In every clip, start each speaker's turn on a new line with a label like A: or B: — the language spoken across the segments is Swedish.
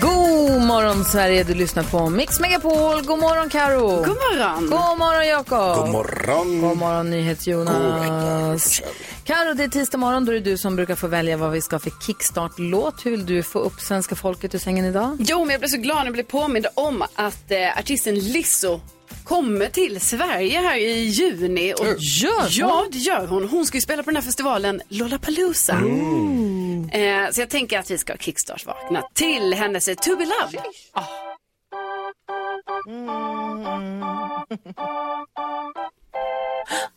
A: God morgon Sverige, du lyssnar på Mix Megapol. God morgon Karo. God
B: morgon.
A: God morgon Jakob.
C: God morgon.
A: God morgon NyhetsJonas. Karo, det är tisdag morgon. Då är det du som brukar få välja vad vi ska ha för kickstart-låt. Hur vill du få upp svenska folket ur sängen idag?
B: Jo, men jag blev så glad när jag blev påmind om att eh, artisten Lizzo kommer till Sverige här i juni. Och
A: Gör
B: Ja, det gör hon. Hon ska ju spela på den här festivalen Lollapalooza.
A: Mm.
B: Eh, så jag tänker att vi ska kickstart-vakna till hennes eh, To Be Loved. Ah.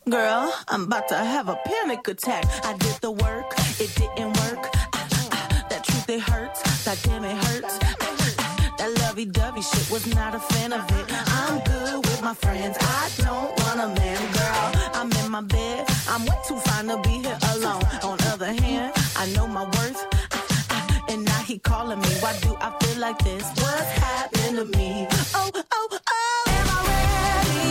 D: Girl, I'm about to have a panic attack. I did the work, it didn't work. Ah, ah, that truth, it hurts. That damn, it hurts. Ah, ah, that lovey dovey shit was not a fan of it. I'm good with my friends. I don't want a man, girl. I'm in my bed. I'm way too fine to be here alone. On other hand, I know my worth. Ah, ah, and now he calling me. Why do I feel like this? What's happened to me? Oh, oh, oh. Am I ready?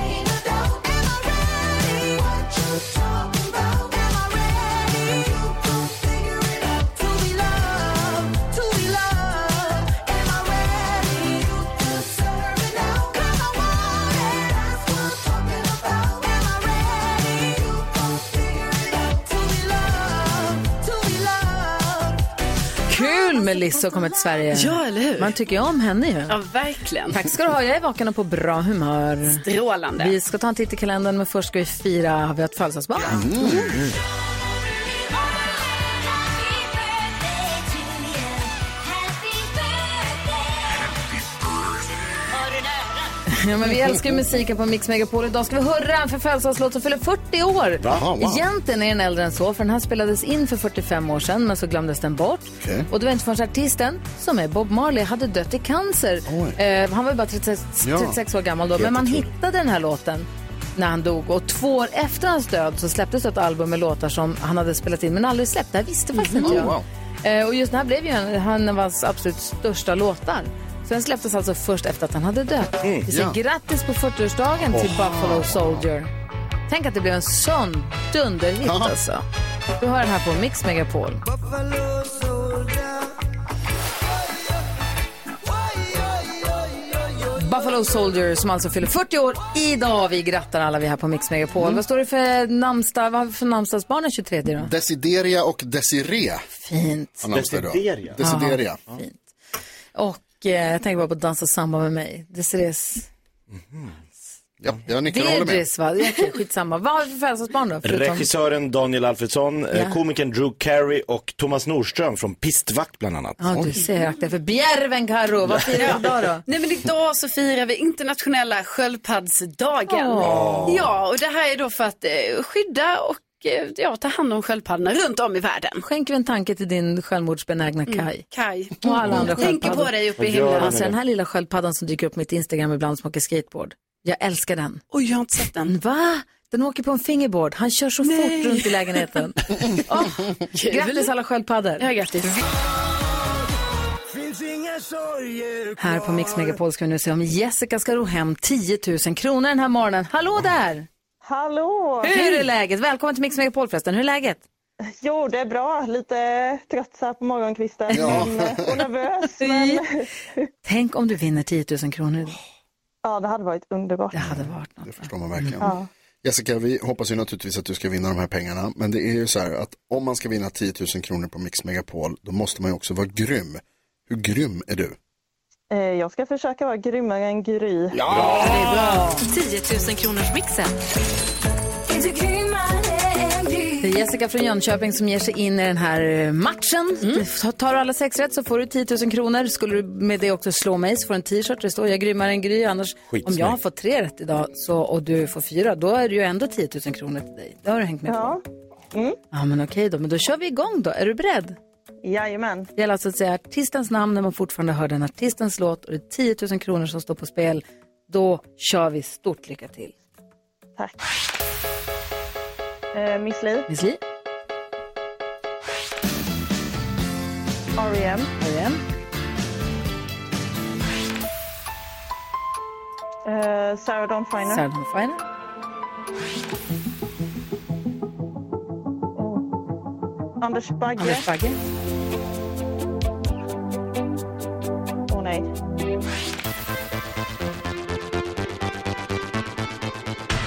D: Ain't no doubt. Am I ready? What you talking about? Am I ready? You gon' figure it out. To be loved, to be loved. Am I ready? You deserve it now. 'Cause I want it. That's what I'm talking about. Am I ready? You gon' figure it out. To be loved, to be loved.
A: Kul med Lizzo kommer till Sverige.
B: Ja, eller hur?
A: Man tycker ju om henne ju.
B: Ja, verkligen.
A: Tack ska du ha. Jag är vaken och på bra humör.
B: Strålande.
A: Vi ska ta en titt i kalendern, men först ska vi fira. Vi har ett födelsedagsbarn. Ja, men vi älskar ju musiken på Mix Megapol. Idag ska vi höra en förföljselslåt som fyller 40 år.
C: Jaha, wow.
A: Egentligen är den äldre än så, för den här spelades in för 45 år sedan, men så glömdes den bort.
C: Okej.
A: Och det var inte förrän artisten, som är Bob Marley, hade dött i cancer.
C: Oj.
A: Eh, han var ju bara 36,
C: Ja.
A: 36 år gammal då, men
C: Helt
A: man
C: otroligt.
A: hittade den här låten när han dog och två år efter hans död så släpptes ett album med låtar som han hade spelat in men aldrig släppt. Det här visste faktiskt inte jag.
C: Oh, wow.
A: Eh, Och just den här blev ju en, han av hans absolut största låtar. Så den släpptes alltså först efter att han hade dött. Vi säger
C: ja.
A: grattis på 40-årsdagen till Buffalo Soldier. Tänk att det blev en sån dunderhit
C: Ja.
A: alltså. Du hör den här på Mix Megapol. Buffalo Soldier som alltså fyller 40 år idag. Vi grattar alla vi här på Mix Megapol.
C: Mm.
A: Vad står det för namnsdag? Vad har vi för namnsdagsbarn den 23 då?
C: Desideria och Desiree.
A: Fint.
C: har namnsdag idag.
E: Desideria.
C: Desideria.
A: Och eh, jag tänker bara på Dansa samba med mig. Desirées
C: Ja, jag nickar och håller med.
A: Dedris va? Ja, Okej, skitsamma. Vad har vi för födelsedagsbarn då? Förutom...
E: Regissören Daniel Alfredsson,
A: Ja.
E: ja. komikern Drew Carey och Thomas Nordström från Pistvakt bland annat.
A: Ja, du ser akta för Bjärven Karo. Vad firar vi idag då?
B: Nej men idag så firar vi internationella sköldpaddsdagen. Ja, och det här är då för att eh, skydda och eh, ja, ta hand om sköldpaddorna runt om i världen.
A: Skänker vi en tanke till din självmordsbenägna Kai.
B: Kaj,
A: Mm. Och alla andra
B: tänker på
A: sköldpaddor.
B: dig uppe i
E: Vad gör
B: himlen.
E: han?
A: Alltså den här lilla sköldpaddan som dyker upp på mitt Instagram ibland som åker skateboard. Jag älskar den.
B: Oj, jag har inte sett den.
A: Va? Den åker på en fingerboard. Han kör så fort runt i lägenheten. Åh, grattis alla sköldpaddor.
B: Ja, grattis.
A: Här på Mix Megapol ska vi nu se om Jessica ska ro hem 10 000 kronor den här morgonen. Hallå där!
F: Hallå!
A: Hur är läget? Välkommen till Mix Megapol förresten. Hur är läget?
F: Jo, det är bra. Lite trött så här på morgonkvisten
C: Ja.
F: men, eh, och nervös. Men
A: Tänk om du vinner 10 000 kronor.
F: ja, det hade varit underbart.
A: Det hade varit något.
C: Det förstår man verkligen.
F: Ja.
C: Jessica, vi hoppas ju naturligtvis att du ska vinna de här pengarna. Men det är ju så här att om man ska vinna 10 000 kronor på Mix Megapol, då måste man ju också vara grym. Hur grym är du?
F: Eh, Jag ska försöka vara grymmare än Gry.
G: 10 000 kronors mixen.
A: Det är Jessica från Jönköping som ger sig in i den här eh, matchen. Du- Tar du alla sex rätt så får du 10 000 kronor. Skulle du med det också slå mig så får du en t-shirt. Det står jag är grymmare än Gry. Annars, om jag har fått tre rätt idag så, och du får fyra, då är det ju ändå 10 000 kronor till dig. Det har du hängt med på.
F: Ja. Mm.
A: Ja, men okej då. Men då kör vi igång då. Är du beredd?
F: Jajamän.
A: Det gäller alltså att säga artistens namn när man fortfarande hör den artistens låt och det är 10 000 kronor som står på spel. Då kör vi stort lycka till.
F: Tack. Eh, Miss Li,
A: Miss Li,
F: R.E.M.
A: R.E.M.
F: Eh, Sarah Dawn Finer.
A: Sarah Dawn Finer,
F: Anders Bagge.
A: Anders Bagge.
F: Åh nej.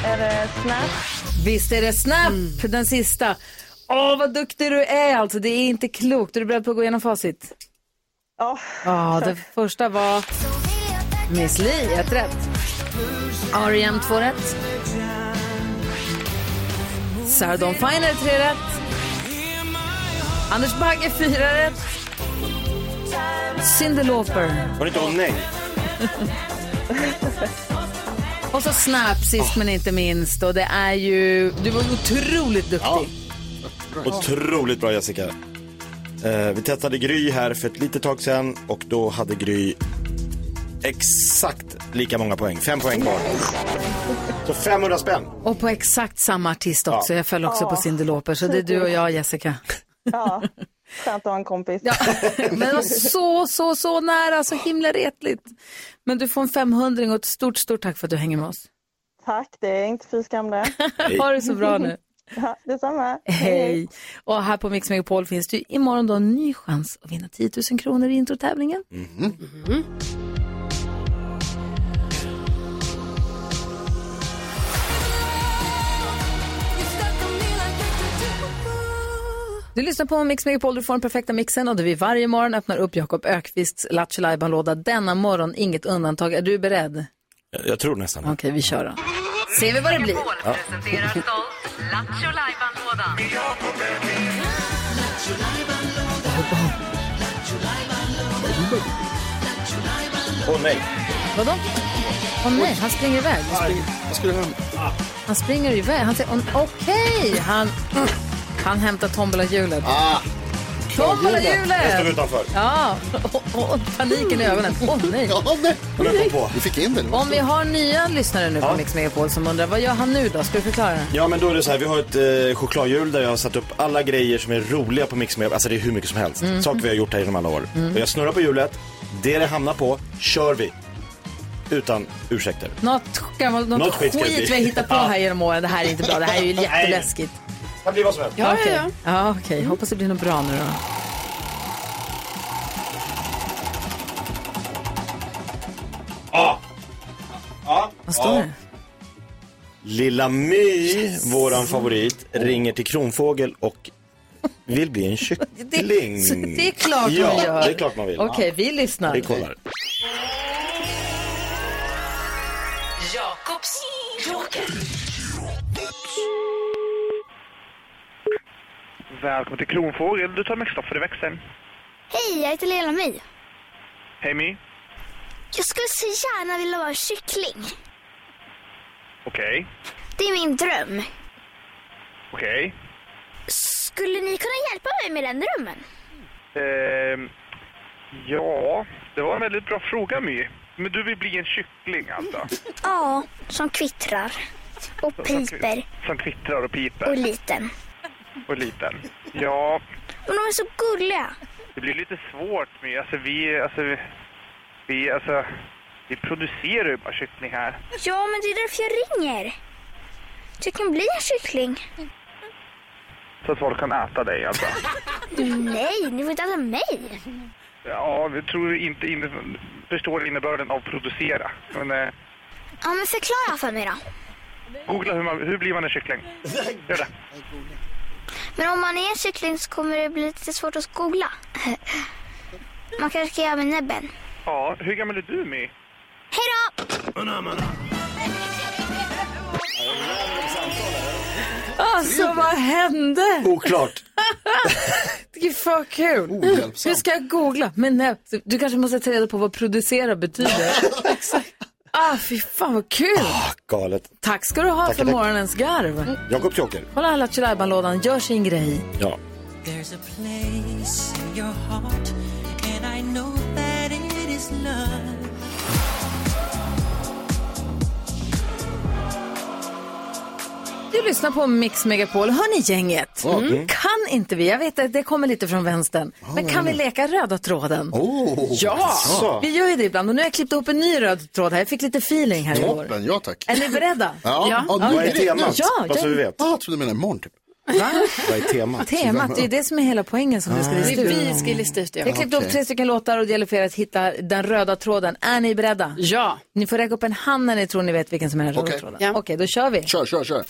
F: Är det Snap?
A: Visst är det Snap, den sista. Åh, vad duktig du är alltså. Det är inte klokt. Är du beredd på att gå igenom facit?
F: Ja.
A: Ja, det första var Miss Li, ett rätt. R.E.M. två rätt. Sarah Dawn Finer, tre rätt. Anders Bagge, fyra rätt. Cyndi Lauper.
E: Var det inte om nej?
A: Och så Snap, sist men inte minst. Och det är ju... Du var ju otroligt duktig.
E: Ja. Otroligt bra Jessica. Eh, vi testade Gry här för ett litet tag sedan och då hade Gry exakt lika många poäng. Fem poäng kvar. Så 500 spänn.
A: Och på exakt samma artist också.
E: Ja.
A: Jag föll också på Cyndi Lauper. Så det är du och jag, Jessica.
F: ja. Skönt att ha en kompis.
A: Ja, men det var så, så, så nära, så himla retligt. Men du får en 500 och ett stort, stort tack för att du hänger med oss.
F: Tack, det är inte fy skam det.
A: Ha det så bra nu.
F: Ja, detsamma.
A: Hej. Och här på Mix Megapol finns det ju imorgon då en ny chans att vinna 10 000 kronor i introtävlingen. Mhm. Du lyssnar på Mix Megapol, du får den perfekta mixen och där vi varje morgon öppnar upp Jakob Ökvists Lattjo låda Denna morgon inget undantag. Är du beredd?
E: Jag, jag tror nästan det.
A: Okej, vi kör då. Ser vi vad det blir.
G: presenterar stolt Lattjo Lajban-lådan.
E: Åh nej.
A: Vadå? Åh nej, han springer iväg.
C: Jag skulle hem.
A: Han springer iväg. Han säger "Åh, okej. Han, han hämtar tombolahjulet.
C: Ah,
E: Jag stod
A: Tombolahjulet!
E: utanför.
A: Ja, och, och, och paniken i ögonen. Åh nej.
C: ja, nej.
E: Men jag kom på.
C: Vi fick in det. det var
A: Om vi har nya lyssnare nu på Mix Megapol som undrar vad gör han nu då? Ska du förklara?
E: Ja men då är det så här, vi har ett eh, chokladhjul där jag har satt upp alla grejer som är roliga på Mix Megapol. Alltså det är hur mycket som helst.
A: Mm.
E: Saker vi har gjort här genom alla år. Och jag snurrar på hjulet, det det hamnar på kör vi. Utan ursäkter.
A: Något, gammalt, något,
E: Något skit
A: skit,
E: ska det bli.
A: vi har hittat på här genom åren. Det här är inte bra. Det här är ju jätteläskigt.
E: Det kan bli vad som helst.
B: Ja,
A: Okej.
B: ja, ja.
A: Ja, okej. Hoppas det blir något bra nu då. Vad står det?
E: Lilla My, våran favorit, ringer till Kronfågel och vill bli en kyckling.
A: så det är klart
E: ja,
A: man gör.
E: det är klart man vill.
A: Okej, vi lyssnar.
E: Vi kollar.
G: Jakobs joker.
H: Välkommen till Kronfågel. Du tar med Kristoffer i växeln.
I: Hej, jag heter Lela My.
H: Hej My.
I: Jag skulle så gärna vilja vara kyckling.
H: Okej.
I: Det är min dröm.
H: Okej.
I: Skulle ni kunna hjälpa mig med den drömmen?
H: Ehm, ja, det var en väldigt bra fråga My. Men du vill bli en kyckling alltså?
I: Ja, som kvittrar. Och piper.
H: Som kvittrar och
I: Och
H: piper
I: liten.
H: och liten. Ja,
I: Men de är så gulliga.
H: det blir lite svårt My. Alltså vi, alltså vi, vi, alltså, vi producerar ju bara kyckling här.
I: Ja, men det är därför jag ringer. Så jag kan bli en kyckling.
H: Så att folk kan äta dig alltså.
I: Nej, ni får inte äta mig.
H: Ja, vi tror inte inne, förstår innebörden av producera. Men eh,
I: Ja, men förklara för mig då.
H: googla hur, man, hur blir man en kyckling. Gör det.
I: Men om man är en kyckling så kommer det bli lite svårt att googla. Man kanske ska göra med näbben.
H: Ja, hur gammal är du My?
I: Hej då!
A: Alltså, vad hände?
E: Oklart.
A: Det är för kul.
E: Oh,
C: Ohjälpsamt.
A: Hur ska jag googla? Men nej, du kanske måste ta reda på vad producera betyder. Exakt. Ah, fy fan vad kul.
E: Ah, galet.
A: Tack ska du ha för
E: tack.
A: morgonens garv.
E: Jakob Joker.
A: Kolla här Lattjo-lajban-lådan, gör sin grej.
E: Ja.
D: There's a place in your heart, and I know that it is love.
A: Du lyssnar på Mix Megapol. Hör ni gänget? Mm. Kan inte vi, jag vet att det kommer lite från vänstern, men kan vi leka röda tråden?
C: Oh,
A: Ja,
E: Så.
A: vi gör ju det ibland och nu har jag klippt ihop en ny röd tråd här. Jag fick lite feeling här igår.
C: toppen, ja tack.
A: Är ni beredda?
C: Ja, ja. nu
E: Vad är
C: direkt, nu.
E: temat?
A: Ja,
E: Bara så
A: jag-
E: vi vet.
C: Ah, jag trodde du menade imorgon typ.
A: Va?
E: Vad är temat?
A: Temat, det är ju det som är hela poängen som vi
C: Ah.
A: ska
B: Det
A: lista
B: är
A: ut.
B: vi ska lista ut det.
A: Jag
B: ja.
A: klippte upp tre stycken låtar och det gäller för er att hitta den röda tråden. Är ni beredda?
B: Ja.
A: Ni får räcka upp en hand när ni tror ni vet vilken som är den röda
C: Okej.
A: tråden.
B: Ja.
A: Okej, då kör vi.
C: Kör, kör, kör.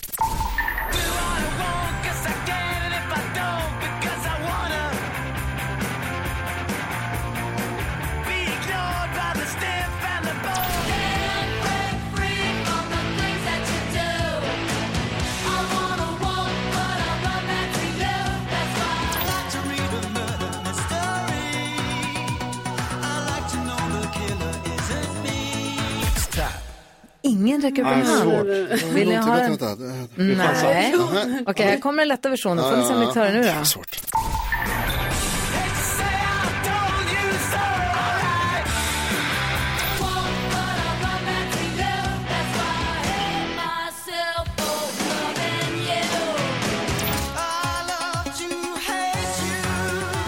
A: Ingen räcker upp
C: Ah,
A: en hand. Vill ni
C: Vänta,
A: ha den?
C: vänta, vänta.
A: Nej. Okej, här kommer den lätta versionen. Får ni se om ni tar den nu då?
C: Svårt.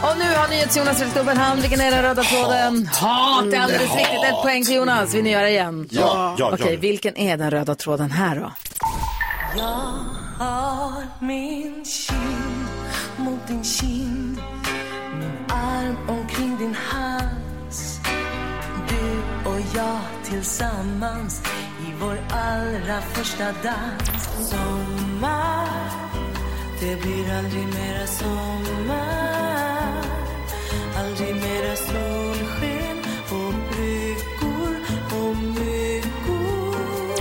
A: Och nu har NyhetsJonas räckt upp en hand. Vilken är den röda tråden? Hat! Det är alldeles riktigt. Ett poäng till Jonas. Vill ni göra igen?
E: Ja, ja,
A: Okej, vilken är den röda tråden här då?
D: Min kind mot din kind Min arm omkring din hals Du och jag tillsammans i vår allra första dans Sommar, det blir aldrig mera sommar Aldrig mera solsken och bryggor och myggor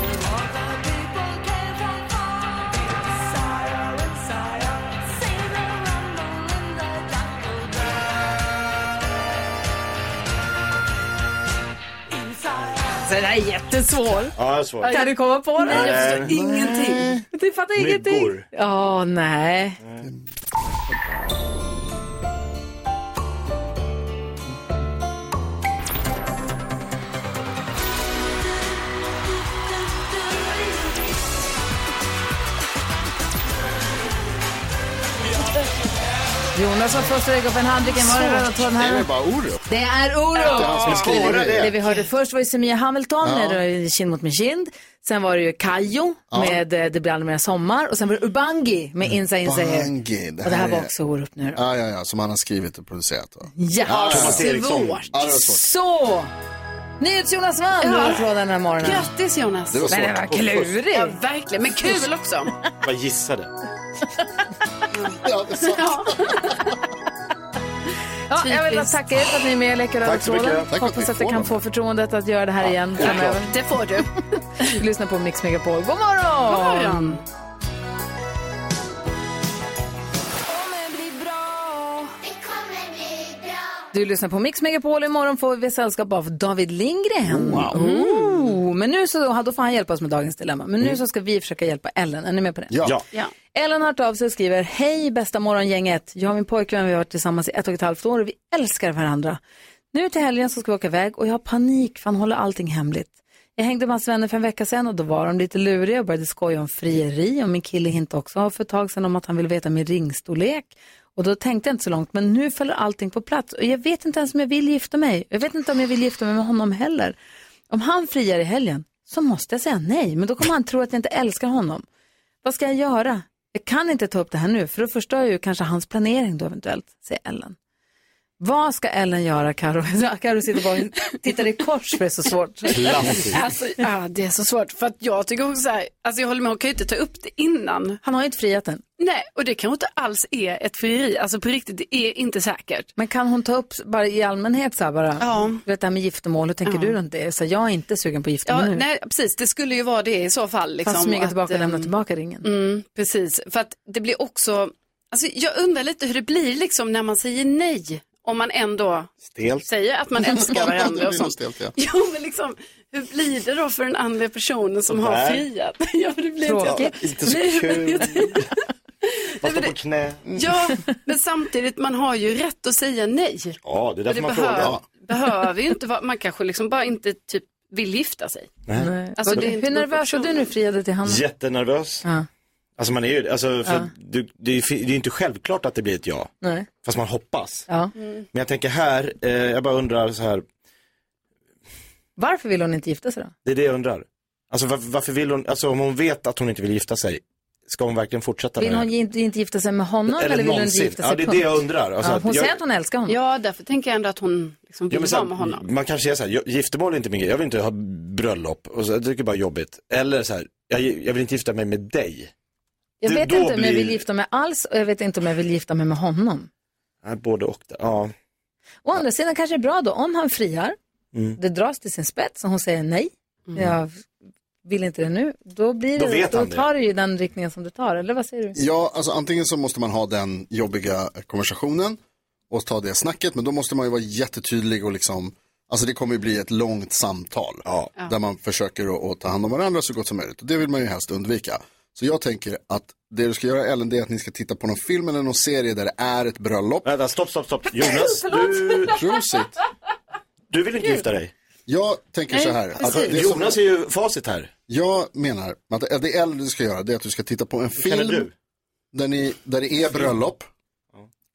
A: Så den här är jättesvår.
E: Ja, det är svårt.
A: Kan du komma på den?
E: Nej, jag förstår
A: ingenting. Du fattar ingenting?
E: Myggor.
A: Ja, nej. Jonas var först att räcka upp en hand. Vilken var den röda tråden
C: Det är
A: här?
C: väl bara Orup.
A: Det är Orup!
C: han som skriver
E: bara
C: det.
A: Det vi hörde först var ju Semia Hamilton med eh, Kind mot min kind. Sen var det ju Kayo med eh, Det blir aldrig mer sommar. Och sen var det Ubangi med Insa Insa Er.
C: Bangi.
A: Och det här var
C: är-
A: också Orup nu.
C: Ja, ja, ja, som han har skrivit och producerat. va?
A: Ja,
E: Thomas Eriksson.
B: Svårt.
C: Ja, det var svårt.
A: så! NyhetsJonas vann ja. från den här morgonen.
B: Grattis Jonas.
C: Det var
A: Men det var
C: svårt.
B: Ja,
A: klurigt.
B: verkligen. Men kul också.
E: Vad gissade?
C: Ja, det är sant.
A: Ja, jag vill tacka er för att ni är med och leker Röda
E: Tack så mycket.
A: tråden.
C: Tack för att
A: Hoppas
C: vi
A: att jag
C: får
A: kan
C: vara
A: få förtroendet att göra det här igen framöver.
B: Det får du.
A: Lyssna på Mix Megapol. God morgon! God
B: morgon.
A: Du lyssnar på Mix Megapol. Imorgon får vi sällskap av David Lindgren. Wow. Men nu så, då får han hjälpa oss med dagens dilemma. Men nu så ska vi försöka hjälpa Ellen. Är ni med på det?
C: Ja.
E: Ja.
A: Ellen har hört av sig och skriver, hej bästa morgongänget. Jag och min pojkvän vi har varit tillsammans i ett och ett halvt år och vi älskar varandra. Nu till helgen så ska vi åka iväg och jag har panik för han håller allting hemligt. Jag hängde med hans vänner för en vecka sedan och då var de lite luriga och började skoja om frieri och min kille hint också för ett tag sedan om att han ville veta min ringstorlek. Och då tänkte jag inte så långt, men nu faller allting på plats och jag vet inte ens om jag vill gifta mig. Jag vet inte om jag vill gifta mig med honom heller. Om han friar i helgen så måste jag säga nej, men då kommer han tro att jag inte älskar honom. Vad ska jag göra? Jag kan inte ta upp det här nu, för då förstör jag ju kanske hans planering då eventuellt, säger Ellen. Vad ska Ellen göra, Karo? Karo sitter bara och tittar i kors för det är så svårt.
E: Klassiskt.
B: Alltså, ja, det är så svårt. För att jag tycker också så här, alltså jag håller med, hon kan ju inte ta upp det innan.
A: Han har ju inte friat än.
B: Nej, och det kanske inte alls är ett frieri. Alltså på riktigt, det är inte säkert.
A: Men kan hon ta upp bara i allmänhet så här bara,
B: Ja.
A: du vet det här med giftermål, hur tänker du runt det? Så jag är inte sugen på
B: Ja,
A: giftermål nu.
B: nej, precis, det skulle ju vara det i så fall. Liksom,
A: Fast smyga
B: att,
A: tillbaka och lämna
B: ehm,
A: tillbaka ringen.
B: Mm, precis, för att det blir också, alltså jag undrar lite hur det blir liksom när man säger nej. Om man ändå
E: Stelt.
B: säger att man älskar varandra
C: Det
B: och
C: blir nog
B: sånt.
C: stelt, ja.
B: Jo, men liksom, hur blir det då för den andra personen som har
E: Sådär.
B: friat? Ja, men det blir inte-
A: Tråkigt.
E: Inte så kul. Man står på knä.
B: Ja, men samtidigt, man har ju rätt att säga nej.
E: Ja, det är
B: Och
E: därför
B: det
E: man
B: behöver,
E: frågar.
B: behöver ju inte vara, man kanske liksom bara inte typ vill gifta sig.
A: Nej.
B: Alltså,
A: Vad-
B: det är inte
A: hur nervös var
B: proportion.
A: du nu friade till Hanna?
E: Jättenervös.
A: Ja.
E: Alltså man är ju, alltså för du, det, är, ju- det är inte självklart att det blir ett ja.
A: Nej.
E: Fast man hoppas.
A: Ja.
E: Men jag tänker här, eh, jag bara undrar så här,
A: Varför vill hon inte gifta sig då?
E: det är det jag undrar. Alltså var, varför vill hon, alltså om hon vet att hon inte vill gifta sig, Ska hon verkligen fortsätta
A: Vill
E: med
A: hon
E: det?
A: inte, inte gifta sig med honom eller, vill hon inte
E: någonsin?
A: gifta sig
E: Ja, det är
A: punkt?
E: det jag undrar. Alltså,
A: Ja,
E: att
A: hon
E: jag...
A: säger att hon älskar honom.
B: Ja, därför tänker jag ändå att hon liksom
E: Ja,
B: vill
E: men
B: vara
E: sen, Mm.
B: med honom.
E: man kanske säger så här, "Jag- giftermål är inte min grej, jag vill inte ha bröllop, och så, jag tycker bara jobbigt. Eller så här, jag, jag vill inte gifta mig med dig.
A: Jag
E: det-
A: vet
E: då
A: inte om jag
E: blir-
A: vill gifta mig alls och jag vet inte om jag vill gifta mig med honom.
E: Nej, Äh, både och. Där. Ja.
A: Å andra sidan kanske det är bra då, om han friar,
C: Mm.
A: det dras till sin spets och hon säger nej, jag vill inte det nu, då, blir
E: Då
A: det,
E: vet
A: då
E: han det.
A: tar det ju den riktningen som det tar, eller vad säger du?
C: Ja, alltså antingen så måste man ha den jobbiga konversationen och ta det snacket, men då måste man ju vara jättetydlig och liksom, alltså det kommer ju bli ett långt samtal där man försöker att, att ta hand om varandra så gott som möjligt och det vill man ju helst undvika. Så jag tänker att det du ska göra Ellen, det är att ni ska titta på någon film eller någon serie där det är ett bröllop.
E: Vänta, stopp, stopp, stopp. Jonas, du,
C: Trusigt.
E: du vill inte gifta dig. Alltså,
C: Jag tänker så här. att det som-
E: Jonas är ju facit här.
C: Jag menar att det äldre du ska göra det är att du ska titta på en
E: Känner
C: film
E: du?
C: där, ni, där det är bröllop.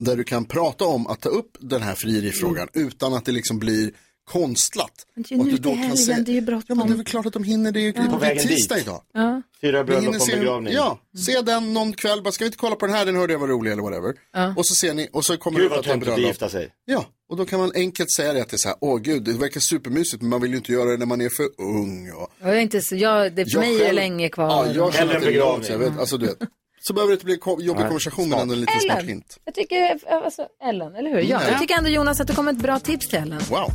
C: Där du kan prata om att ta upp den här frierifrågan
E: Mm.
C: utan att det liksom blir konstlat.
A: Men det är ju
C: Och att
A: nu
C: du då
A: till
C: kan
A: helgen,
C: säga-
A: det är ju bråttom.
C: Ja men det är väl klart att de hinner, det är ju
E: På
C: det är
E: vägen dit.
C: tisdag idag.
A: Ja.
E: Fyra
C: Vi
E: bröllop
C: hinner
E: och en
C: se,
E: begravning.
C: ja,
A: Mm.
C: se den någon kväll, bara ska vi inte kolla på den här, den hörde jag var rolig eller whatever. Och så ser ni, och så kommer
E: Gud
C: det
E: vad
C: att det är
E: töntigt att
C: bröllop.
E: gifta sig.
C: Ja, och då kan man enkelt säga det att det är så här, åh gud, det verkar supermysigt men man vill ju inte göra det när man är för ung. Och...
A: Jag är inte, så- jag, det, för
C: Jag
A: mig är det
C: själv-
A: länge kvar.
C: Ja, jag känner
E: Eller
C: att det är
E: begravning.
C: långt, jag vet, alltså, du vet. Så behöver det inte bli en ko- jobbig
E: Nej,
C: konversation men ändå en liten smart
A: Ellen,
C: hint.
A: jag tycker, alltså, Ellen, eller
C: Mm.
A: hur? Ja. Jag tycker ändå Jonas att du kom med ett bra tips till Ellen.
C: Wow.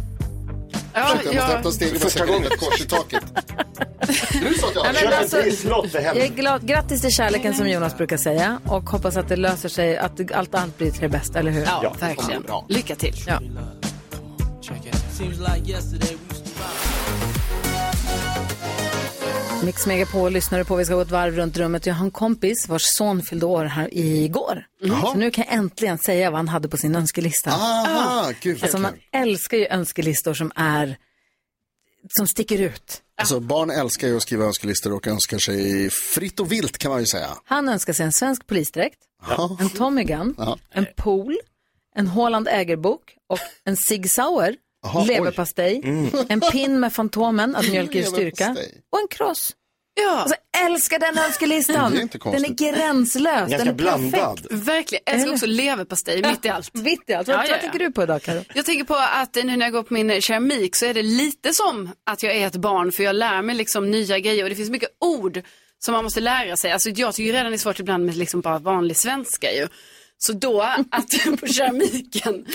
B: Ja,
C: Jag måste
B: ja.
C: hämta steg och sätta in ett kors i taket. Du sa att jag
A: men
E: Köp
A: alltså-
E: en trisslott för
A: Jag är
E: helvete.
A: glad, grattis till kärleken som Jonas brukar säga och hoppas att det löser sig, att allt annat blir till det bästa, eller hur?
B: ja, verkligen.
C: bra.
B: Lycka till.
A: Mix Megapol lyssnar du på. Vi ska gå ett varv runt rummet. Jag har en kompis vars son fyllde år här igår. Så nu kan jag äntligen säga vad han hade på sin önskelista.
C: Ah, Aha, gud vad
A: alltså man
C: kul.
A: älskar ju önskelistor som är som sticker ut.
C: Alltså barn älskar ju att skriva önskelistor och önskar sig fritt och vilt kan man ju säga.
A: Han önskar sig en svensk polisdräkt, en Tommy Gun,
C: Ja.
A: en pool, en Holland ägerbok och en Sig Sauer,
C: Jaha, Mm.
A: leverpastej, en pin med Fantomen, att mjölka ur styrka
C: Leverpastej.
A: och en kross.
B: Ja,
A: Alltså, jag älskar den önskelistan.
C: Det är inte
A: den är
C: konstigt.
A: gränslös. Den
E: Ganska
A: är perfekt.
E: blandad.
B: verkligen. Jag älskar också leverpastej mitt i allt.
A: Vitt i allt.
B: Ja,
A: Vad,
B: ja,
A: vad
B: ja.
A: tänker du på idag, Karo?
B: Jag tänker på att nu när jag går på min keramik så är det lite som att jag är ett barn för jag lär mig liksom nya grejer och det finns mycket ord som man måste lära sig. Alltså jag tycker ju redan det är svårt ibland med liksom bara vanlig svenska ju. Så då att på keramiken,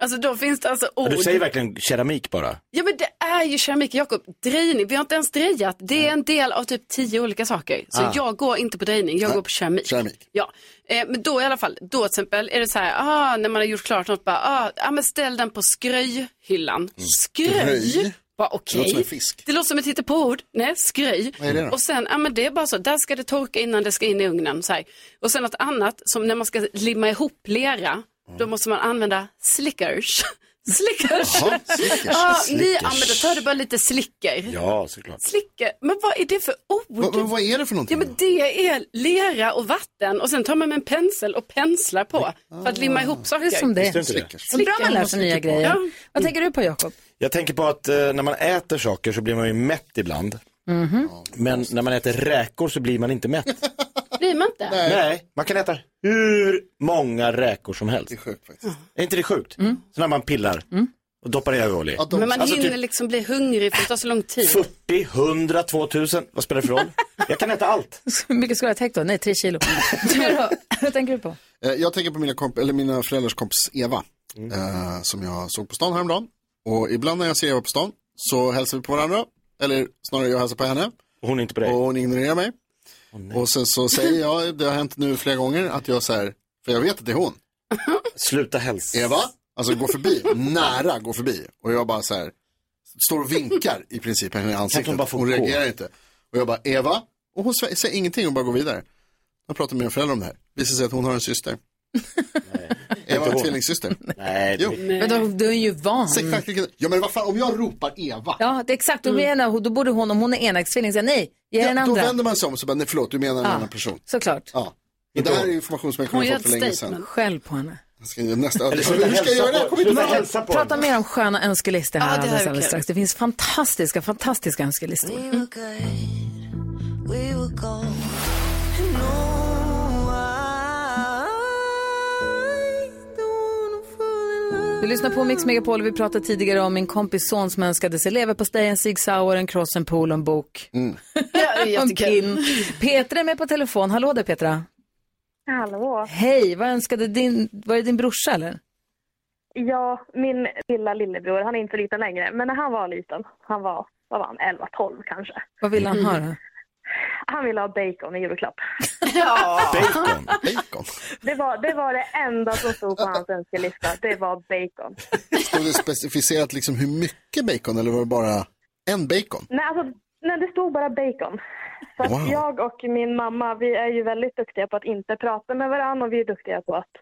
B: alltså då finns det alltså ord.
E: Du säger verkligen keramik bara.
B: Ja men det är ju keramik, Jakob, drejning, vi har inte ens drejat. Det är en del av typ tio olika saker. Så jag går inte på drejning, jag går på keramik.
C: Ah. keramik.
B: Ja, eh, men då i alla fall, då till exempel är det så här, ah, när man har gjort klart något, bara, ah, ja, men ställ den på skröjhyllan. Skröj?
C: Mm. Skröj?
B: Bara, okej.
C: Det låter som en fisk.
B: Det låter som ett hittepåord. Nej, skröj.
C: Vad är det då?
B: Och sen, ja men det är bara så, där ska det torka innan det ska in i ugnen. Så här. Och sen något annat, som när man ska limma ihop lera, då
C: Mm.
B: måste man använda slickers. slickers.
C: Jaha, Snickers.
B: Ja, ni, ja, men då tar du bara lite slicker.
E: Ja, såklart.
B: Slicker, men vad är det för
C: Va-
B: ord?
C: va- vad är det för någonting?
B: Ja, men det är lera och vatten och sen tar man med en pensel och penslar på för att limma
C: Ah.
B: ihop saker.
A: Det är som det.
E: Visste du inte det?
A: Så bra man lär sig nya grejer.
B: Ja.
A: Vad tänker du på, Jakob?
E: Jag tänker på att eh, när man äter saker så blir man ju mätt ibland. Men när man äter räkor så blir man inte mätt.
B: Blir man inte?
E: Nej. man kan äta hur många räkor som helst.
C: Det är sjukt
A: Mm.
C: faktiskt.
E: Är inte det sjukt? Så när man pillar och doppar i överolja.
C: Ja, de...
B: Men man
E: Alltså,
B: hinner
E: typ-
B: liksom bli hungrig för det tar så lång tid.
E: 40, 100, 2000, vad spelar det för roll? Jag kan äta allt.
A: Hur mycket skulle jag ha täckt då? Nej, tre kilo. Du då? Vad tänker du på?
C: Eh, Jag tänker på mina, komp- eller mina föräldrars kompis Eva, eh, som jag såg på stan häromdagen. Och ibland när jag ser Eva på stan så hälsar vi på varandra, eller snarare jag hälsar på henne.
E: Hon är inte på dig.
C: Och hon ignorerar mig. och sen så säger jag, det har hänt nu flera gånger, att jag så här, för jag vet att det är hon.
E: Sluta hälsa.
C: Eva, alltså gå förbi, nära gå förbi. Och jag bara så här, står och vinkar i princip henne i
E: Kan
C: ansiktet.
E: hon bara få
C: Hon
E: gå?
C: reagerar inte. Och jag bara, Eva, och hon sä- säger ingenting, hon bara går vidare. Jag pratar med mina föräldrar om det här. Visar sig att hon har en syster. Eva har en
E: hon.
C: tvillingsyster.
E: Nej, det...
C: Jo.
A: Men då, du är ju van.
C: Sex praktiken. Ja men vad fan, om jag ropar Eva.
A: Ja, det är exakt. Då, blir ena, då borde hon, om hon är enäggstvilling, säga nej, ge
C: Mm.
A: den
C: Ja, då
A: andra.
C: vänder man sig om och så bara, nej förlåt, du menar en
A: Ja.
C: annan person.
A: Såklart.
C: Ja. Men det här är information som jag
B: Hon
C: kunde
B: gör
C: ha fått för
B: ett
C: länge
B: statement.
C: sedan.
A: Skäll på henne.
C: Jag ska, nästa,
E: Eller
C: hur ska
E: sluta hälsa
C: jag göra det?
E: på-
C: Jag kommer inte
E: sluta
C: ihåg.
E: hälsa på
A: Prata
E: henne.
A: mer om sköna önskelistor här
B: Ja, det här
A: alldeles,
B: är
A: alldeles
B: kul.
A: strax. Det finns fantastiska, Mm. fantastiska önskelistor.
D: We were good, we were gold. No
A: Du lyssnar på Mix Megapol. Vi pratade tidigare om min kompis son som önskade sig leverpastej, en cig sour, en cross, en pool och en bok. Och en pin. Petra är med på telefon. Hallå där Petra.
F: Hallå.
A: Hej, vad önskade din, var det din brorsa eller?
F: Ja, min lilla lillebror, han är inte liten längre, men när han var liten, han var, vad var han, 11-12 kanske.
A: Vad ville han
B: Mm.
A: ha då?
F: Han ville ha bacon i julklapp.
E: Bacon.
F: Det var, det var det enda som stod på hans önskelista, det var bacon.
C: Stod det specificerat liksom hur mycket bacon eller var det bara en bacon?
F: Nej, alltså, nej, det stod bara bacon. Så att
C: Wow.
F: jag och min mamma, vi är ju väldigt duktiga på att inte prata med varandra och vi är duktiga på att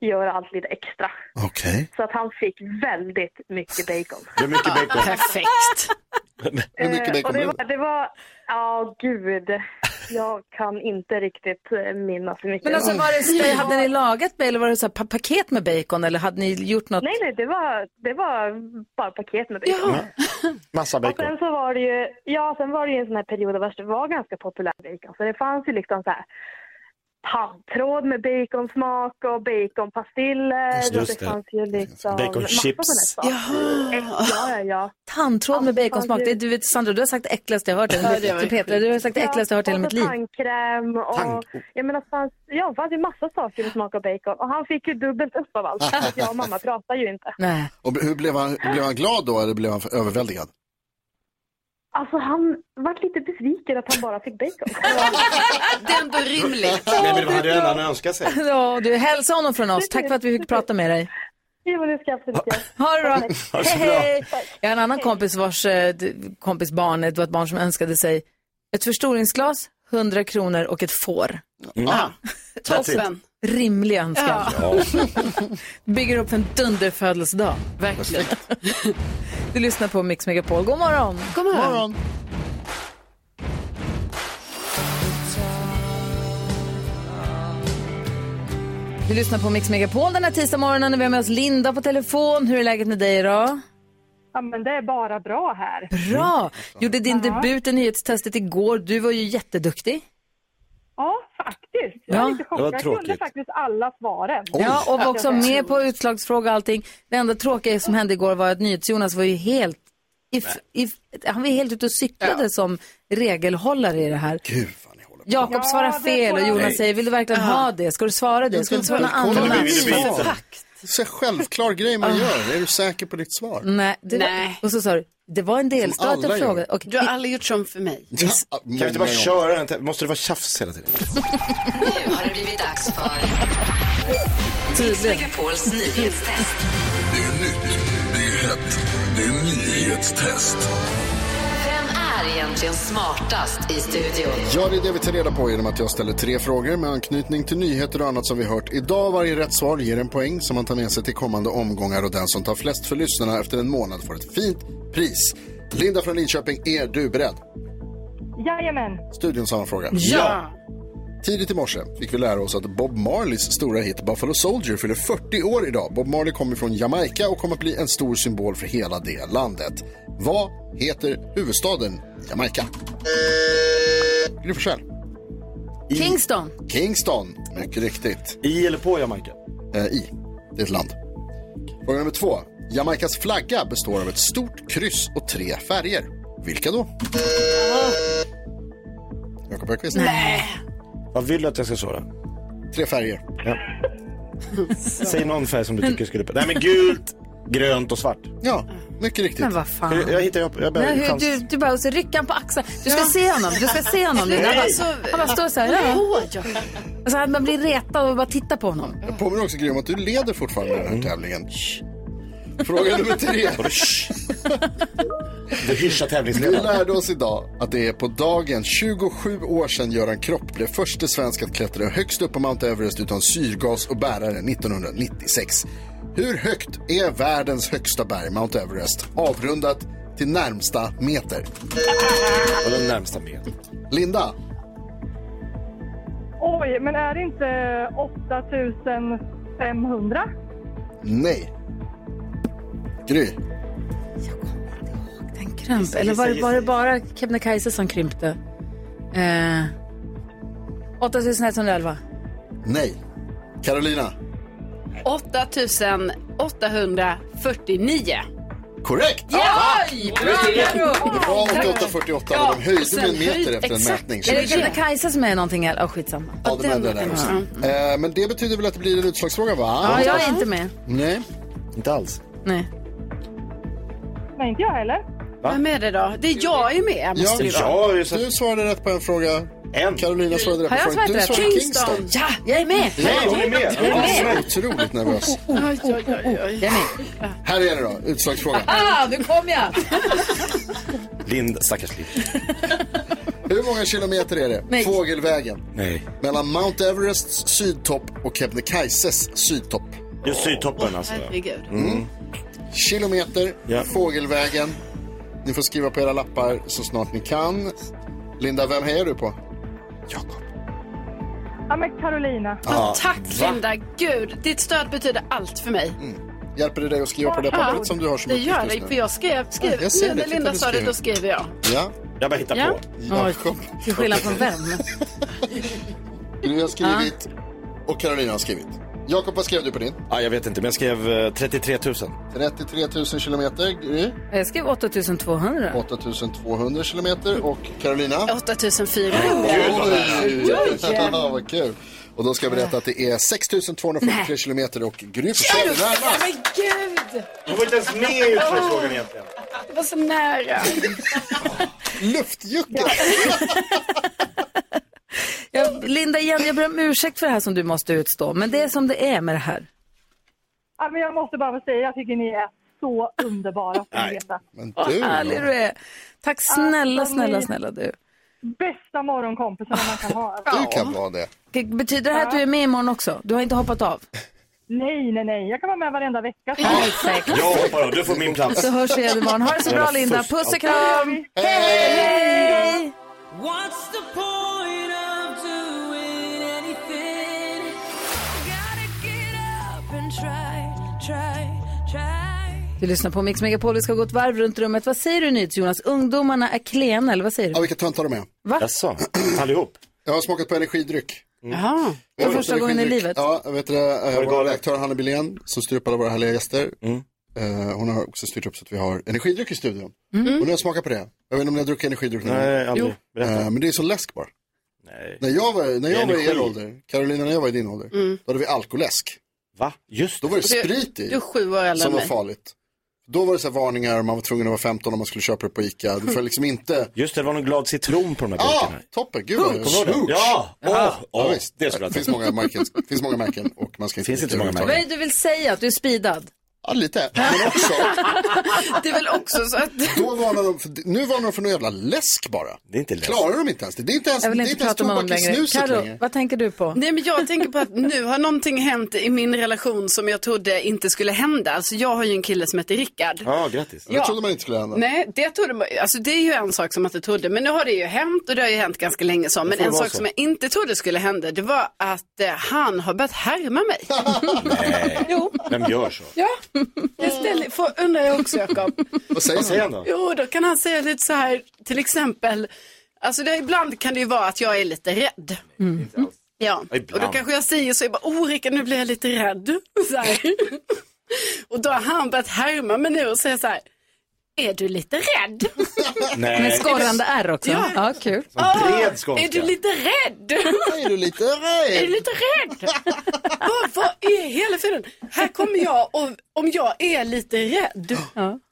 F: göra allt lite extra.
C: Okej.
F: Så att han fick väldigt mycket bacon.
E: Hur mycket bacon?
B: Perfekt.
C: Hur mycket
F: Eh, och
C: bacon
F: det
C: blev det?
F: var, det var, ja gud, jag kan inte riktigt eh, minnas hur mycket
A: Men alltså
F: det var.
A: var det, spe- hade ni lagat bacon eller var det så här pa- paket med bacon eller hade ni gjort något?
F: Nej, nej, det var, det var bara paket med bacon.
E: Mm. Massa
F: Och sen
E: bacon.
F: så var det ju, ja sen var det ju en sån här period där det var ganska populär bacon. Så det fanns ju liksom så här tandtråd med baconsmak och baconpastiller.
E: Just- just
F: och det,
E: det.
F: fanns ju liksom
E: Baconchips.
F: massa sådana saker. Ja, ja, ja.
A: Tandtråd med baconsmak. Det är, du vet, Sandra, du har sagt det äckligaste jag hört i
B: det var
A: mitt liv.
B: ju
A: Petra, du har sagt det äckligaste jag hört i hela
F: och
A: mitt
F: så
A: liv.
F: tandkräm och
E: Tand-
F: jag menar, det fanns, ja, det fanns ju massa saker med smak av bacon. Och han fick ju dubbelt upp av allt. Så att jag och mamma pratar ju inte.
A: Nej.
C: Och hur blev han, blev han glad då eller blev han överväldigad?
F: Alltså han vart lite besviken att han bara fick bacon.
B: Det är ändå rimligt.
E: Nej, men det hade ju han önskat sig.
A: Ja, du, hälsa honom från oss. Tack för att vi fick prata med dig.
F: Jo, men det ska jag absolut göra.
A: Ha det bra.
E: Ha det så
A: Hej,
E: bra.
A: hej. Jag har en annan kompis vars eh, d- kompis barn, det var ett barn som önskade sig ett förstoringsglas, 100 kronor och ett får.
E: Mm.
B: Ja. Toppen.
A: Rimlig önskan.
B: Ja.
A: Bygger upp en dunderfödelsedag.
B: Verkligen.
A: Du lyssnar på Mix Megapol. God morgon.
B: Kom här.
A: Du lyssnar på Mix Megapol den här tisdagsmorgonen och vi har med oss Linda på telefon. Hur är läget med dig idag?
F: Ja, men det är bara bra här.
C: Mm.
A: Bra! Gjorde din debut i nyhetstestet igår. Du var ju jätteduktig.
F: Ja, faktiskt. Jag
A: Ja,
F: är lite chockad.
E: det var
F: Jag kunde
E: tråkigt.
F: faktiskt alla svaren.
A: Ja, och var också med på utslagsfråga och allting. Det enda tråkiga som hände igår var att NyhetsJonas var ju helt, if, if, han var ju helt ute och cyklade som regelhållare i det här.
C: Gud vad ni håller på.
A: Jakob svarar
F: det
A: fel och
F: får jag-
A: Jonas
E: Nej.
A: säger, vill du verkligen ha det? Ska du svara det? Ska du inte svara något
C: Kolla
E: Kolla
A: annat?
E: nu
C: mitt
E: vill du
C: svar.
E: byta.
C: Så självklar grej
F: Ah.
C: man gör. Är du säker på ditt svar?
A: Nej, det
B: Nej.
A: Var, och så sa du, det var en delstat
C: alla
A: jag
C: gör.
A: frågade. Och,
B: Du har aldrig gjort som för mig.
C: Ja,
E: Kan vi inte bara köra den? Måste det vara tjafs hela tiden?
G: Nu har det blivit dags för Mix
A: tydligt.
G: Megapols nyhetstest. Vem är egentligen smartast i studion?
C: Ja, det är det vi tar reda på genom att jag ställer tre frågor med anknytning till nyheter och annat som vi hört idag. Varje rätt svar ger en poäng som man tar med sig till kommande omgångar och den som tar flest för lyssnarna efter en månad får ett fint pris. Linda från Linköping, är du beredd?
F: Jajamän.
C: Studion samma fråga.
B: Ja.
C: Tidigt i morse fick vi lära oss att Bob Marleys stora hit Buffalo Soldier fyller 40 år idag. Bob Marley kommer från Jamaica och kommer att bli en stor symbol för hela det landet. Vad heter huvudstaden Jamaica? Gry Forssell.
A: Kingston,
C: Kingston, mycket riktigt.
E: I eller på Jamaica?
C: Eh, I, det är ett land. Fråga nummer två. Jamaicas flagga består av ett stort kryss och tre färger. Vilka då? Jakob Högqvist.
E: Vad vill du att jag ska svara?
C: Tre färger.
E: Säg någon färg som du tycker skulle... Nej men gult, grönt och svart.
C: Ja, mycket riktigt.
A: men vad fan.
E: Jag, jag hittar, jag, jag
A: Nej,
E: behöver
A: hur,
E: chans.
A: du, du bara, och så rycker han på axeln. Du ska se honom, du ska se honom. Linda. Han,
B: Alltså,
A: bara, han bara står så här. Ja. Så här Alltså, man blir retad och bara tittar på honom.
C: Jag påminner också Gry om att du leder fortfarande den här tävlingen. Fråga nummer tre.
E: Du hyschar
C: Vi
E: tävlingsledaren.
C: lärde oss idag att det är på dagen 27 år sedan Göran Kropp blev förste svensk att klättra högst upp på Mount Everest utan syrgas och bärare 1996. Hur högt är världens högsta berg, Mount Everest, avrundat till närmsta meter?
E: Och den närmsta med.
C: Linda,
F: Oj, men är det inte 8500?
C: nej. Gry,
A: Den krömp. Eller var, det- var det bara Kebnekaise som krympte? Eh, 8111.
C: nej. Carolina,
B: 8111. 849.
C: Korrekt!
B: Oj, bra, bra,
C: Det var 8848
B: Ja,
C: men de
B: och
C: höjde
B: sen
C: med en meter
B: höjd-
C: efter en
B: exakt.
C: mätning.
A: Är det Kebnekaise som är någonting? eller? Åh, skitsamma.
C: Ja, de ändrade det också. Eh, Men det betyder väl att det blir en utslagsfråga va?
A: Ja, jag är inte med.
C: Nej. Inte alls.
A: Nej.
F: Nej, inte jag heller.
E: Va?
B: Vem är det då? Det är jag ju med.
C: Ja,
B: Måste det vara.
E: Ja, just
C: Du svarade rätt på en fråga.
E: En.
C: Carolina svarade rätt på
A: Har
C: en
A: jag
C: fråga.
A: svarat
C: Du
A: rätt?
C: svarade Kingston.
A: Kingston! Ja, jag är med!
E: Ja, hon är med.
A: Jag är med!
C: Jag är otroligt nervös.
B: Oj, oj, oj, oj.
A: Jag är med.
C: Här är det då, utslagsfrågan.
A: Ah, nu kom jag!
E: Lind, stackars Lind.
C: Hur många kilometer är det
A: Nej.
C: fågelvägen
E: Nej.
C: mellan Mount Everests sydtopp och Kebnekaises sydtopp?
E: Just sydtoppen alltså.
B: Herregud.
C: Kilometer,
E: Ja.
C: fågelvägen. Ni får skriva på era lappar så snart ni kan. Linda, vem hejar du på?
E: Jakob.
F: Ja, men Carolina.
B: Ja, tack Linda. Gud, ditt stöd betyder allt för mig.
C: Hjälper det dig att skriva på det pappret som du har som
B: Det gör
C: uppgift
B: det,
C: just
B: för
C: nu?
B: jag skrev, skrev.
C: Ja, jag ser det.
B: nu när
C: Titta,
B: Linda
C: du
B: sa det,
C: skriver.
B: då skriver jag.
C: Ja,
E: Jag bara hittar
B: Ja.
E: på.
C: Jakob.
A: Till skillnad från vem?
C: Du har skrivit och Carolina har skrivit. Jakob, vad skrev du på din?
E: Ja, Ah, jag vet inte, men jag skrev eh, 33 000.
C: 33 000 kilometer, Gry.
A: Jag skrev 8200.
C: 8 200 kilometer och Carolina?
B: Oh, 8400.
C: Oj, Ja, vad kul. Och då ska jag berätta att det är 6 243 kilometer och Gry försvinner närmast.
B: Men gud,
E: Du var inte ens med i utslagsfrågan egentligen.
B: det var så nära.
C: Luftjucka!
A: Jag, Linda, igen, jag ber om ursäkt för det här som du måste utstå, men det är som det är med det här.
F: Ja, men jag måste bara få säga, jag tycker ni är så underbara. att ni vet.
C: Men
A: Vad
C: du,
A: härlig du är. Tack snälla,
F: Alltså,
A: snälla,
F: ni-
A: snälla du.
F: Bästa morgonkompisarna man kan ha.
C: du kan vara det.
A: Betyder det här att du är med imorgon också? Du har inte hoppat av?
F: Nej, nej, nej. Jag kan vara med varenda vecka.
A: Perfekt.
E: Jag hoppar av, du får min plats.
A: Så hörs vi igen imorgon. Ha det så bra Linda. Puss och kram. Hej! Du lyssnar på Mix Megapol. Vi ska gå ett varv runt rummet. Vad säger du nytt Jonas? Ungdomarna är klena eller vad säger
C: Ja,
A: du?
C: vilka töntar de är.
E: Jaså, allihop?
C: Jag har smakat på energidryck.
B: Jaha.
C: Jag
A: första
C: vet inte,
A: gången i
C: energidryck.
A: livet.
C: Ja, jag vet det. Eh, Vår
E: galet? Mm.
C: redaktör Hanna Billén som styr upp alla våra härliga gäster. Eh, Hon har också styrt upp så att vi har energidryck i studion. Och nu har jag smakat på det. Jag vet inte om ni har druckit energidryck någon gång.
E: Nej, aldrig. Berätta.
C: Eh, Men det är som läsk bara.
E: Nej.
C: När jag var, när jag var i
E: Energi.
C: er ålder, Carolina när jag var i din ålder, då hade vi alkoläsk.
E: Va? Just
C: Då
E: det.
C: var det sprit i.
B: Du är sju år äldre
C: som
B: än
C: var
B: mig.
C: farligt. Då var det så här varningar, man var tvungen att vara 15 om man skulle köpa det på ICA. Du får liksom inte...
E: Just det, det var någon glad citron på de här
C: Ja,
E: burkarna.
C: toppen, gud vad
E: Kommer du ihåg det? Ja! Åh, åh, det skulle
C: det
E: jag
C: finns
E: ta.
C: många, märken, det finns många märken och man ska inte...
E: Finns inte så många
A: Vad
E: märken.
A: är det du vill säga? Att du är speedad?
C: Ja, lite. Men också,
B: Det är väl också så att...
C: då varnar de för, nu varnar de för någon jävla läsk bara.
E: Det är inte läsk.
C: Klarar de inte ens det? Det är inte ens,
A: Jag vill
C: det är inte
A: inte
C: ens
A: prata med honom
C: tobak i
A: längre.
C: snuset
A: Karo,
C: längre.
A: vad tänker du på?
B: Nej, men jag tänker på att nu har någonting hänt i min relation som jag trodde inte skulle hända. Alltså jag har ju en kille som heter Rickard.
E: Ja, grattis.
C: Det trodde man inte skulle hända.
B: Nej, det, trodde man, alltså det är ju en sak som man inte trodde, men nu har det ju hänt och det har ju hänt ganska länge så. Men
E: får
B: en
E: vara
B: sak
E: så.
B: som jag inte trodde skulle hända, det var att eh, han har börjat härma mig.
E: Nej.
B: Jo.
E: Vem gör så?
B: Ja, det ställer, får, undrar jag också Jakob.
C: Vad säger
E: Vad säger
C: han?
E: han då?
B: Jo, då kan han säga lite så här, till exempel, alltså det, ibland kan det ju vara att jag är lite rädd. Ja, och
E: Ibland.
B: då kanske jag säger så, jag bara, oh Rickard, nu blir jag lite rädd. Så här. och då har han börjat härma mig nu och säga så här, är du lite rädd?
A: Med
E: Nej.
A: skorrande R också?
B: Ja.
A: Ja, kul.
E: Bred
B: Ah, är du
E: skånska.
B: lite rädd?
C: Är du lite
B: Är du
C: rädd?
B: lite rädd? vad, vad är hela friden? Här kommer jag och om jag är lite rädd,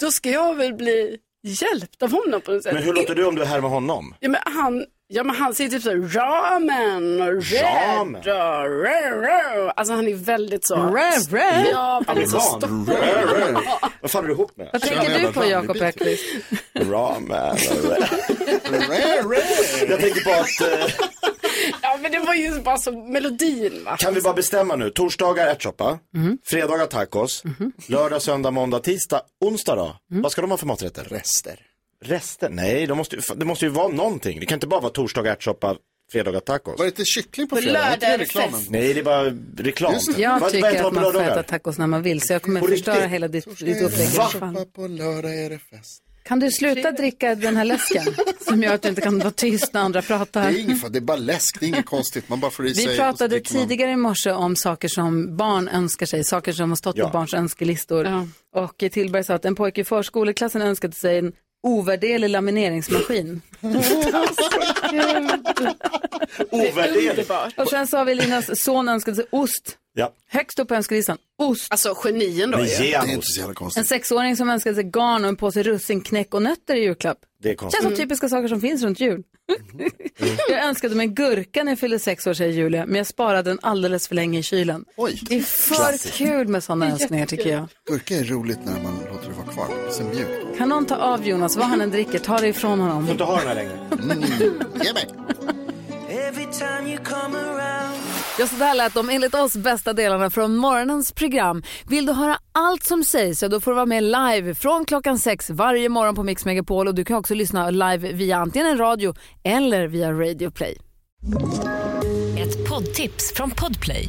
B: då ska jag väl bli hjälpt av honom på något sätt.
E: Men hur låter du om du härmar honom?
B: Ja men han, ja, men han säger typ så här, ramen och
E: Ramen.
B: red och rö, rö. Alltså han är väldigt så.
A: Rä, rä.
B: Ja, väldigt så stopp.
E: Ram, rö, rö. Vad fan är du ihop med?
A: Vad tänker du på Jakob Öqvist?
E: Ram, rö, rö.
C: Rädd, rädd.
E: Jag tänker på att, eh,
B: Ja men det var ju bara så melodin va.
E: kan vi bara bestämma nu? Torsdagar ärtsoppa,
B: Mhm.
E: fredagar tacos, lördag, söndag, måndag, tisdag, onsdag då?
B: Mm.
E: Vad ska de ha för maträtter?
C: Rester.
E: Rester? Nej, de måste, ju- fan, det måste ju vara någonting. Det kan inte bara vara torsdagar ärtsoppa, fredagar tacos.
C: Var det inte kyckling på
B: På
C: fredag? Var inte
B: lördag
C: det
B: är det
C: reklamen?
E: Nej, det är bara reklam.
C: Just det.
E: Vad-
A: Jag
E: vad
A: tycker
E: äter
A: att
E: man
A: man
E: på
A: får äta
E: lördagar?
A: tacos när man vill, så jag kommer
E: På
A: förstöra
E: riktigt?
A: hela ditt, ditt upplägg.
C: Va? På Mm. lördag är det fest.
A: Kan du sluta dricka den här läsken som gör att du inte kan vara tyst när andra
C: Det
A: pratar?
C: är, inget, fa- det är bara läsk, det är inget konstigt. Man bara får i sig.
A: Vi
C: och så
A: pratade
C: dricker man.
A: tidigare i morse om saker som barn önskar sig, saker som har stått
C: Ja.
A: på barns önskelistor. Och eh, Tillberg sa att en pojke i förskoleklassen önskade sig en ovärderlig lamineringsmaskin.
E: Ovärderligt.
A: Och sen så har vi Linas son önskade sig ost.
E: Ja.
A: Högst upp på önskelistan, ost.
B: Alltså genien
E: då, Men ju. ge han
C: Det är inte så jävla konstigt.
A: En sexåring som önskade sig garn och en påse russin, knäck och nötter i julklapp.
E: Det är
A: Känns
E: konstigt. Mm.
A: som typiska saker som finns runt jul. jag önskade mig en gurka när jag fyllde sex år, säger Julia, men jag sparade den alldeles för länge i kylen. det är för
C: Klassiskt.
A: kul med sådana önskningar tycker jag.
C: Gurka är roligt när man låter det vara kvar. Sen mjukt.
A: Kan någon ta av Jonas, vad han än dricker, ta det ifrån honom. Får
E: inte ha den här längre.
D: Every time you come around.
J: Ja, så där lät de enligt oss bästa delarna från morgonens program. Vill du höra allt som sägs så då får du vara med live från klockan sex varje morgon på Mix Megapol och du kan också lyssna live via antingen en radio eller via Radio Play.
K: Ett poddtips från Podplay.